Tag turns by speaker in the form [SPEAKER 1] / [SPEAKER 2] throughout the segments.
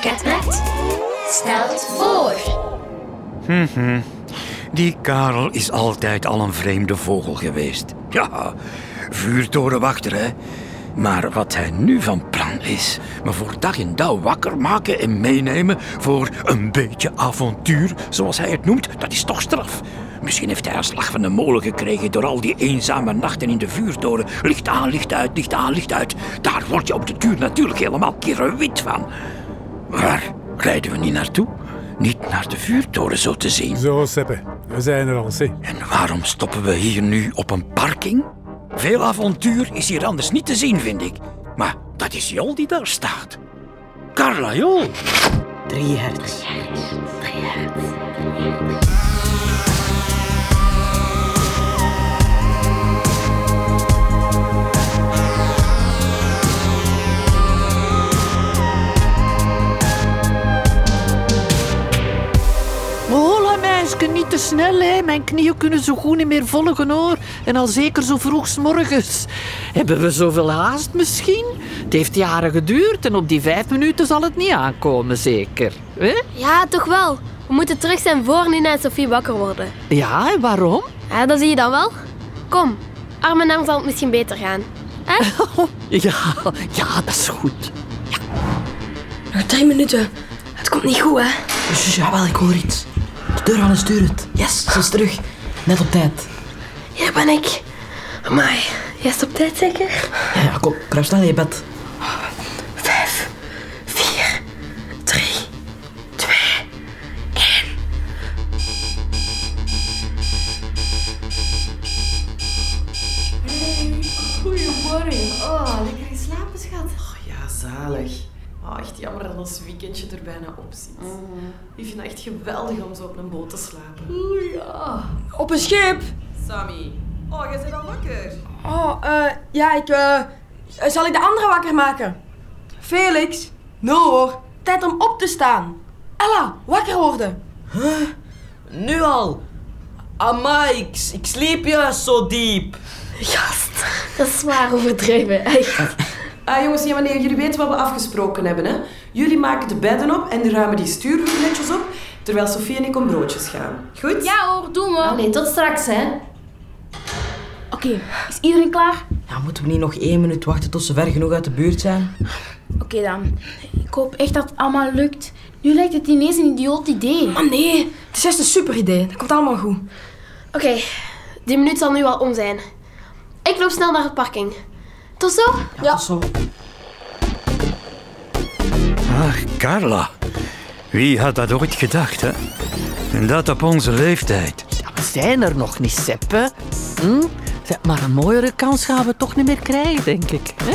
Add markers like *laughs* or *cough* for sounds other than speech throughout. [SPEAKER 1] Bert stelt voor.
[SPEAKER 2] Die Karel is altijd al een vreemde vogel geweest. Ja, vuurtorenwachter, hè. Maar wat hij nu van plan is, me voor dag en dauw wakker maken en meenemen voor een beetje avontuur, zoals hij het noemt, dat is toch straf. Misschien heeft hij een slag van de molen gekregen door al die eenzame nachten in de vuurtoren. Licht aan, licht uit, licht aan, licht uit. Daar word je op de duur natuurlijk helemaal wit van. Waar rijden we niet naartoe? Niet naar de vuurtoren zo te zien.
[SPEAKER 3] Zo, Seppe, we zijn er al, zie.
[SPEAKER 2] En waarom stoppen we hier nu op een parking? Veel avontuur is hier anders niet te zien, vind ik. Maar dat is Jol die daar staat. Carla Jol.
[SPEAKER 4] Drie hertz.
[SPEAKER 5] Hola meisje, niet te snel hè. Mijn knieën kunnen zo goed niet meer volgen hoor. En al zeker zo vroeg 's morgens. Hebben we zoveel haast misschien? Het heeft jaren geduurd en op die vijf minuten zal het niet aankomen zeker. hè?
[SPEAKER 1] Ja, toch wel. We moeten terug zijn voor Nina en Sophie wakker worden.
[SPEAKER 5] Ja, en waarom?
[SPEAKER 1] Ja, dat zie je dan wel. Kom, arm in arm zal het misschien beter gaan.
[SPEAKER 5] Ja,
[SPEAKER 4] *laughs*
[SPEAKER 5] ja, dat is goed.
[SPEAKER 6] Nog drie minuten. Het komt niet goed, hè?
[SPEAKER 4] Shush, jawel, ik hoor iets. De deur aan de stuur het. Yes, ze is terug. Net op tijd.
[SPEAKER 6] Hier ben ik. Amai. Jij is op tijd zeker?
[SPEAKER 4] Ja, ja, kom, kruip snel in je bed.
[SPEAKER 6] Vijf, vier, drie, twee,
[SPEAKER 7] Goedemorgen. Oh, lekker geslapen, schat.
[SPEAKER 8] Ja, zalig. Ah, echt jammer dat ons weekendje er bijna op zit. Ik vind het echt geweldig om zo op een boot te slapen.
[SPEAKER 7] Oeh, ja. Op een schip.
[SPEAKER 8] Sammy. Oh, jij bent al wakker.
[SPEAKER 7] Oh, eh, ja, ik... eh, zal ik de andere wakker maken? Felix? No hoor. Tijd om op te staan. Ella, wakker worden.
[SPEAKER 4] Nu al. Amai, ik, ik sliep juist zo diep.
[SPEAKER 6] Gast, dat is zwaar overdreven, echt.
[SPEAKER 8] Ah, jongens, ja, meneer, jullie weten wat we afgesproken hebben, hè? Jullie maken de bedden op en ruimen die stuurhoek netjes op, terwijl Sofie en ik om broodjes gaan. Goed?
[SPEAKER 1] Ja hoor, doen we.
[SPEAKER 6] Allee, tot straks, hè. Oké, is iedereen klaar?
[SPEAKER 4] Ja, moeten we niet nog één minuut wachten tot ze ver genoeg uit de buurt zijn?
[SPEAKER 6] Oké dan.
[SPEAKER 9] Ik hoop echt dat het allemaal lukt. Nu lijkt het ineens een idioot idee.
[SPEAKER 7] Maar Ah, nee, het is juist een super idee. Dat komt allemaal goed.
[SPEAKER 1] Oké, die minuut zal nu al om zijn. Ik loop snel naar de parking. Tot zo.
[SPEAKER 4] Ja. tot Zo.
[SPEAKER 2] Ah, Carla. Wie had dat ooit gedacht, hè? En dat op onze leeftijd.
[SPEAKER 5] Ja, we zijn er nog niet, Seppe. Hm? Zeg, Maar een mooiere kans gaan we toch niet meer krijgen, denk ik. Hè?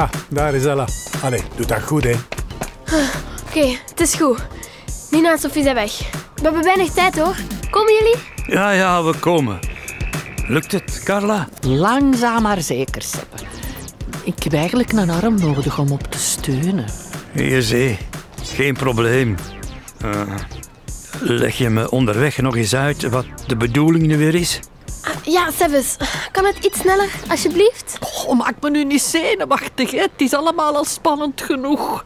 [SPEAKER 3] Ah, daar is Ella. Allee, doe dat goed, hè.
[SPEAKER 1] Oké, het is goed. Nina en Sophie zijn weg. We hebben weinig tijd hoor. Komen jullie?
[SPEAKER 2] Ja, ja, we komen. Lukt het, Carla?
[SPEAKER 5] Langzaam maar zeker, Seppe. Ik heb eigenlijk een arm nodig om op te steunen.
[SPEAKER 2] Je zee. Geen probleem. Eh, leg je me onderweg nog eens uit wat de bedoeling nu weer is?
[SPEAKER 1] Ah, ja, Sevis. Kan het iets sneller, alsjeblieft?
[SPEAKER 5] Oh, maak me nu niet zenuwachtig, hè. Het is allemaal al spannend genoeg.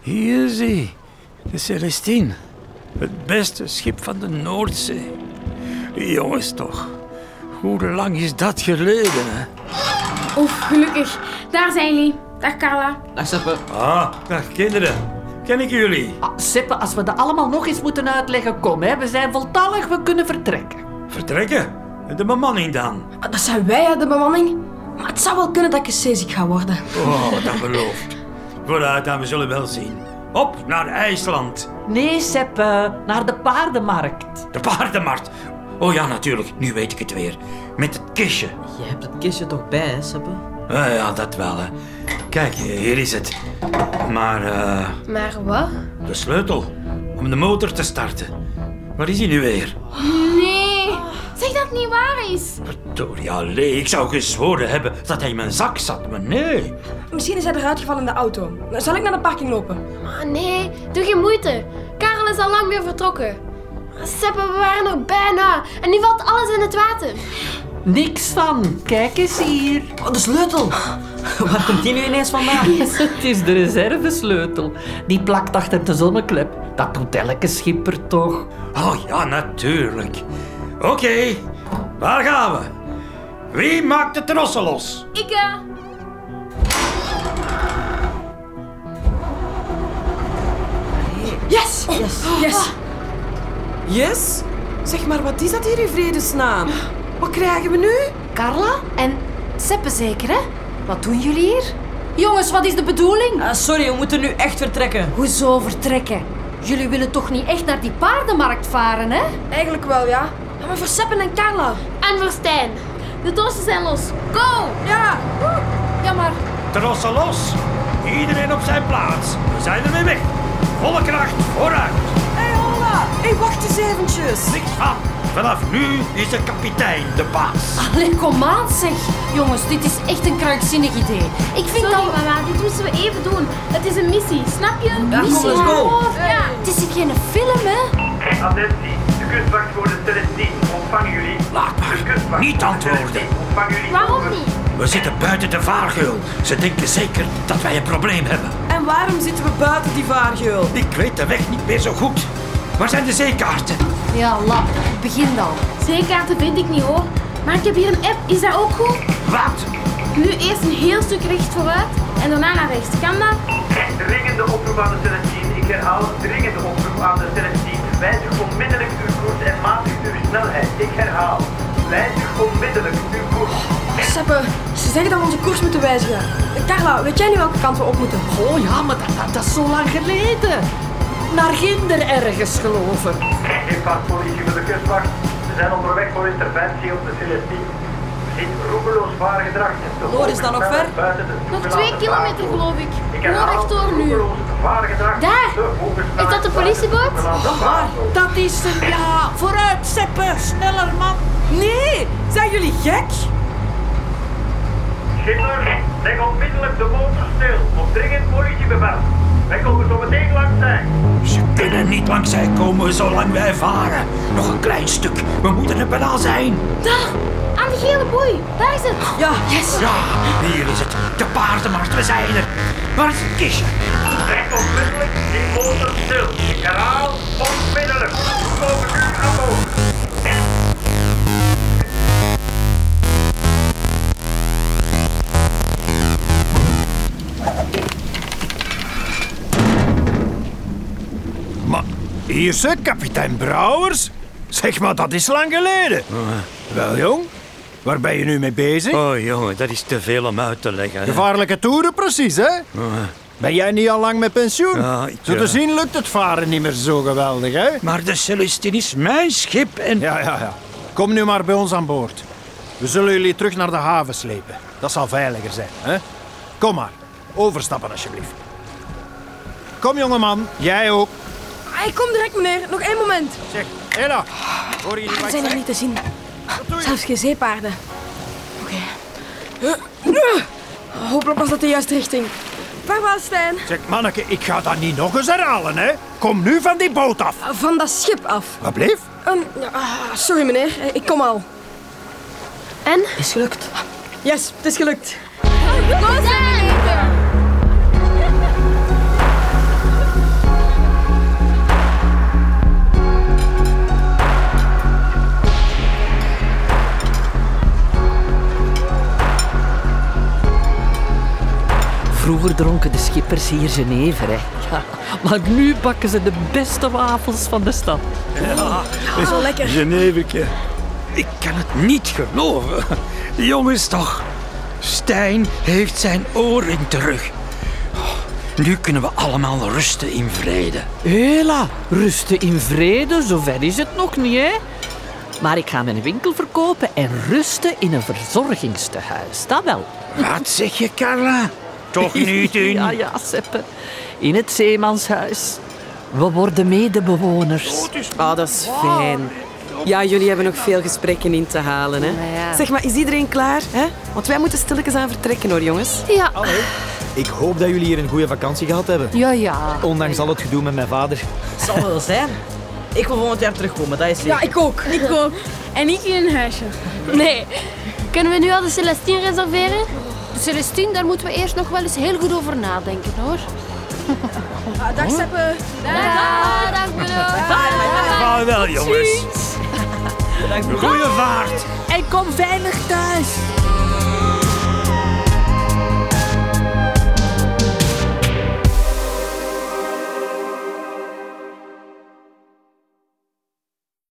[SPEAKER 2] Hier zie, de Celestine. Het beste schip van de Noordzee. Jongens toch, hoe lang is dat geleden? Hè?
[SPEAKER 9] Oef, gelukkig. Daar zijn jullie. Dag Carla.
[SPEAKER 4] Dag, Seppe.
[SPEAKER 2] Ah, dag kinderen. Ken ik jullie?
[SPEAKER 5] Ah, Seppe, als we dat allemaal nog eens moeten uitleggen, kom, hè. We zijn voltallig, we kunnen vertrekken.
[SPEAKER 2] Vertrekken? De bemanning dan?
[SPEAKER 7] Maar Ah, dat zijn wij, hè, de bemanning. Maar het zou wel kunnen dat ik zeeziek ga worden.
[SPEAKER 2] Oh, dat belooft. Vooruit dan, we zullen wel zien. Op naar IJsland.
[SPEAKER 5] Nee, Seppe, naar de paardenmarkt.
[SPEAKER 2] De paardenmarkt. Oh ja, natuurlijk. Nu weet ik het weer. Met het kistje.
[SPEAKER 4] Je hebt het kistje toch bij, hè, Seppe?
[SPEAKER 2] Ah, ja, dat wel, hè. Kijk, hier is het. Maar eh,
[SPEAKER 1] Maar wat?
[SPEAKER 2] de sleutel om de motor te starten. Waar is hij nu weer?
[SPEAKER 9] Nee. Zeg dat het niet waar is.
[SPEAKER 2] Victoria Lee, ik zou gezworen hebben dat hij in mijn zak zat, maar nee.
[SPEAKER 7] Misschien is hij eruit gevallen in de auto. Dan zal ik naar de parking lopen.
[SPEAKER 1] Ah, nee, doe geen moeite. Karel is al lang weer vertrokken. Ah, Seppe, we waren er bijna. En nu valt alles in het water.
[SPEAKER 5] Niks van. Kijk eens hier.
[SPEAKER 4] Oh, de
[SPEAKER 5] *laughs*
[SPEAKER 4] sleutel. Waar komt die nu ineens vandaan?
[SPEAKER 5] Het is de reservesleutel. Die plakt achter de zonneklep. Dat doet elke schipper toch.
[SPEAKER 2] Oh ja, natuurlijk. Oké, waar gaan we? Wie maakt de trossen los?
[SPEAKER 9] Ik, eh,
[SPEAKER 7] Yes! Yes!
[SPEAKER 8] Yes? Zeg maar, wat is dat hier in vredesnaam? Wat krijgen we nu?
[SPEAKER 6] Carla en Seppe zeker, hè? Wat doen jullie hier? Jongens, wat is de bedoeling?
[SPEAKER 4] Ah, sorry, we moeten nu echt vertrekken.
[SPEAKER 6] Hoezo vertrekken? Jullie willen toch niet echt naar die paardenmarkt varen, hè?
[SPEAKER 7] Eigenlijk wel, ja. Ja, Maar voor Seppen en Carla.
[SPEAKER 1] En voor Stijn. De dossen zijn los. Go!
[SPEAKER 7] Ja!
[SPEAKER 6] Ja, maar...
[SPEAKER 2] Trossen los! Iedereen op zijn plaats. We zijn ermee weg. Volle kracht vooruit.
[SPEAKER 8] Hé, hey, Ola! Hé, wacht eens eventjes.
[SPEAKER 2] Niks van. Vanaf nu is de kapitein de baas.
[SPEAKER 6] Allee, kom aan, zeg. Jongens, dit is echt een krankzinnig idee. Ik vind
[SPEAKER 1] Sorry,
[SPEAKER 6] dat...
[SPEAKER 1] mama, dit moesten we even doen. Het is een missie, snap je? Een
[SPEAKER 4] kom,
[SPEAKER 1] missie.
[SPEAKER 4] let's go.
[SPEAKER 1] Oh, ja.
[SPEAKER 6] Het is hier geen film, hè?
[SPEAKER 10] Attentie, de kustwachtwoorden Celestine ontvangen jullie.
[SPEAKER 2] Laat maar.
[SPEAKER 10] De kustwachtwoorden
[SPEAKER 2] Niet antwoorden.
[SPEAKER 10] Celestine ontvangen jullie.
[SPEAKER 1] Waarom niet?
[SPEAKER 2] We zitten buiten de vaargeul. Ze denken zeker dat wij een probleem hebben.
[SPEAKER 8] En waarom zitten we buiten die vaargeul?
[SPEAKER 2] Ik weet de weg niet meer zo goed. Waar zijn de zeekaarten?
[SPEAKER 6] Ja, lap. Begin dan.
[SPEAKER 1] Zeekaarten vind ik niet hoor. Maar ik heb hier een app, is dat ook goed?
[SPEAKER 2] Wat?
[SPEAKER 1] Nu eerst een heel stuk recht vooruit en daarna naar rechts. Kan dat?
[SPEAKER 10] Dringende oproep aan de Celestine. Ik herhaal, dringende oproep aan de Celestine. Wijzig onmiddellijk uw koers en matig uw snelheid. Ik herhaal, wijzig onmiddellijk uw koers.
[SPEAKER 7] Seppe, ze zeggen dat we onze koers moeten wijzigen. Eh, Carla, weet jij nu welke kant we op moeten?
[SPEAKER 5] Oh ja, maar dat, dat, dat is zo lang geleden. Naar ginder ergens geloven.
[SPEAKER 10] Invaartpolitie van de kustwacht. We zijn onderweg voor interventie op de Celestine. Zien roekeloos vaar gedrag en te
[SPEAKER 8] Loor, is dat nog ver?
[SPEAKER 10] Buiten de
[SPEAKER 1] Nog
[SPEAKER 10] toegelaten
[SPEAKER 1] twee kilometer
[SPEAKER 10] vaartboot.
[SPEAKER 1] geloof ik.
[SPEAKER 10] Ik
[SPEAKER 1] Gewoon
[SPEAKER 10] herhaal,
[SPEAKER 1] rechtdoor nu.
[SPEAKER 10] roekeloos vaar gedrag
[SPEAKER 1] Daar!
[SPEAKER 10] te hooggesnelheid
[SPEAKER 1] Is dat de
[SPEAKER 10] buiten de
[SPEAKER 1] politieboot?
[SPEAKER 10] toegelaten
[SPEAKER 8] Oh,
[SPEAKER 10] vaartboot.
[SPEAKER 5] Dat is hem, ja. Vooruit, Seppen. Sneller, man.
[SPEAKER 8] Nee! Zijn jullie gek?
[SPEAKER 10] Schippers, leg onmiddellijk de motor stil op dringend politiebevel. Wij komen zo meteen langs zijn.
[SPEAKER 2] Ze kunnen niet langs zij komen zolang wij varen. Nog een klein stuk. We moeten er bijna zijn.
[SPEAKER 1] Daar! Aan de gele boei. Daar is het.
[SPEAKER 7] Ja,
[SPEAKER 2] Ja, hier is het. De paardenmarkt, we zijn er. Waar is het kistje?
[SPEAKER 10] Leg onmiddellijk die motor stil. Ik herhaal, onmiddellijk. Komen nu aan boord.
[SPEAKER 3] Maar hier ze, kapitein Brouwers. Zeg maar, dat is lang geleden. Wel, jong. Waar ben je nu mee bezig?
[SPEAKER 2] Oh jongen, dat is te veel om uit te leggen. hè.
[SPEAKER 3] Gevaarlijke toeren, precies, hè? Ben jij niet al lang met pensioen?
[SPEAKER 2] Ja, ik,
[SPEAKER 3] Zo
[SPEAKER 2] ja.
[SPEAKER 3] te zien lukt het varen niet meer zo geweldig, hè?
[SPEAKER 2] Maar de Celestine is mijn schip en...
[SPEAKER 3] Ja, ja, ja. Kom nu maar bij ons aan boord. We zullen jullie terug naar de haven slepen. Dat zal veiliger zijn, hè? Kom maar. Overstappen, alsjeblieft. Kom, jongeman. Jij ook.
[SPEAKER 7] Ah, ik kom direct meneer. Nog één moment.
[SPEAKER 3] Zeg, Ella. Hoor je die
[SPEAKER 7] Ze
[SPEAKER 3] wat
[SPEAKER 7] Ah,
[SPEAKER 3] ik
[SPEAKER 7] zijn er
[SPEAKER 3] zeg?
[SPEAKER 7] niet te zien.
[SPEAKER 3] Wat doe je?
[SPEAKER 7] Zelfs geen zeepaarden. Oké. Hopelijk was dat de juiste richting. Vaarwel, Stijn.
[SPEAKER 3] Zeg, manneke, ik ga dat niet nog eens herhalen, hè? Kom nu van die boot af.
[SPEAKER 7] Van dat schip af.
[SPEAKER 3] Wat bleef?
[SPEAKER 7] En- ja, ah, sorry, meneer. Eh, Ik kom al.
[SPEAKER 1] En?
[SPEAKER 7] Is gelukt. Yes, het is gelukt.
[SPEAKER 5] Vroeger dronken de schippers hier Geneve, hè. Ja, maar nu bakken ze de beste wafels van de stad.
[SPEAKER 7] Zo lekker.
[SPEAKER 2] Geneveke. Ik kan het niet geloven. Jongens toch. Stijn heeft zijn oorring terug. Oh, Nu kunnen we allemaal rusten in vrede.
[SPEAKER 5] Hela, rusten in vrede, zover is het nog niet, hè? Maar ik ga mijn winkel verkopen en rusten in een verzorgingstehuis, dat wel.
[SPEAKER 2] Wat zeg je, Carla? Toch
[SPEAKER 5] *laughs*
[SPEAKER 2] niet in?
[SPEAKER 5] Ja, ja, Seppe. In het zeemanshuis. We worden medebewoners.
[SPEAKER 8] Oh, dat is fijn. Ja, jullie hebben nog veel gesprekken in te halen, hè? Zeg maar, is iedereen klaar, hè? Want wij moeten stilletjes aan vertrekken, hoor, jongens.
[SPEAKER 9] ja.
[SPEAKER 10] Ik hoop dat jullie hier een goede vakantie gehad hebben.
[SPEAKER 9] Ja, ja.
[SPEAKER 10] Ondanks al het gedoe met mijn vader.
[SPEAKER 4] Zal wel zijn.
[SPEAKER 7] Ah,
[SPEAKER 4] Ik wil volgend jaar terugkomen, dat is zeker.
[SPEAKER 7] Ja, ik ook.
[SPEAKER 1] Ik ook. En ik in een huisje. Nee,
[SPEAKER 11] Kunnen we nu al de Celestine reserveren?
[SPEAKER 1] De Celestine, daar moeten we eerst nog wel eens heel goed over nadenken *laughs* hoor.
[SPEAKER 12] dag Seppe.
[SPEAKER 1] Dag, dag,
[SPEAKER 2] Maar wel, jongens. Goeie vaart.
[SPEAKER 7] En kom veilig thuis.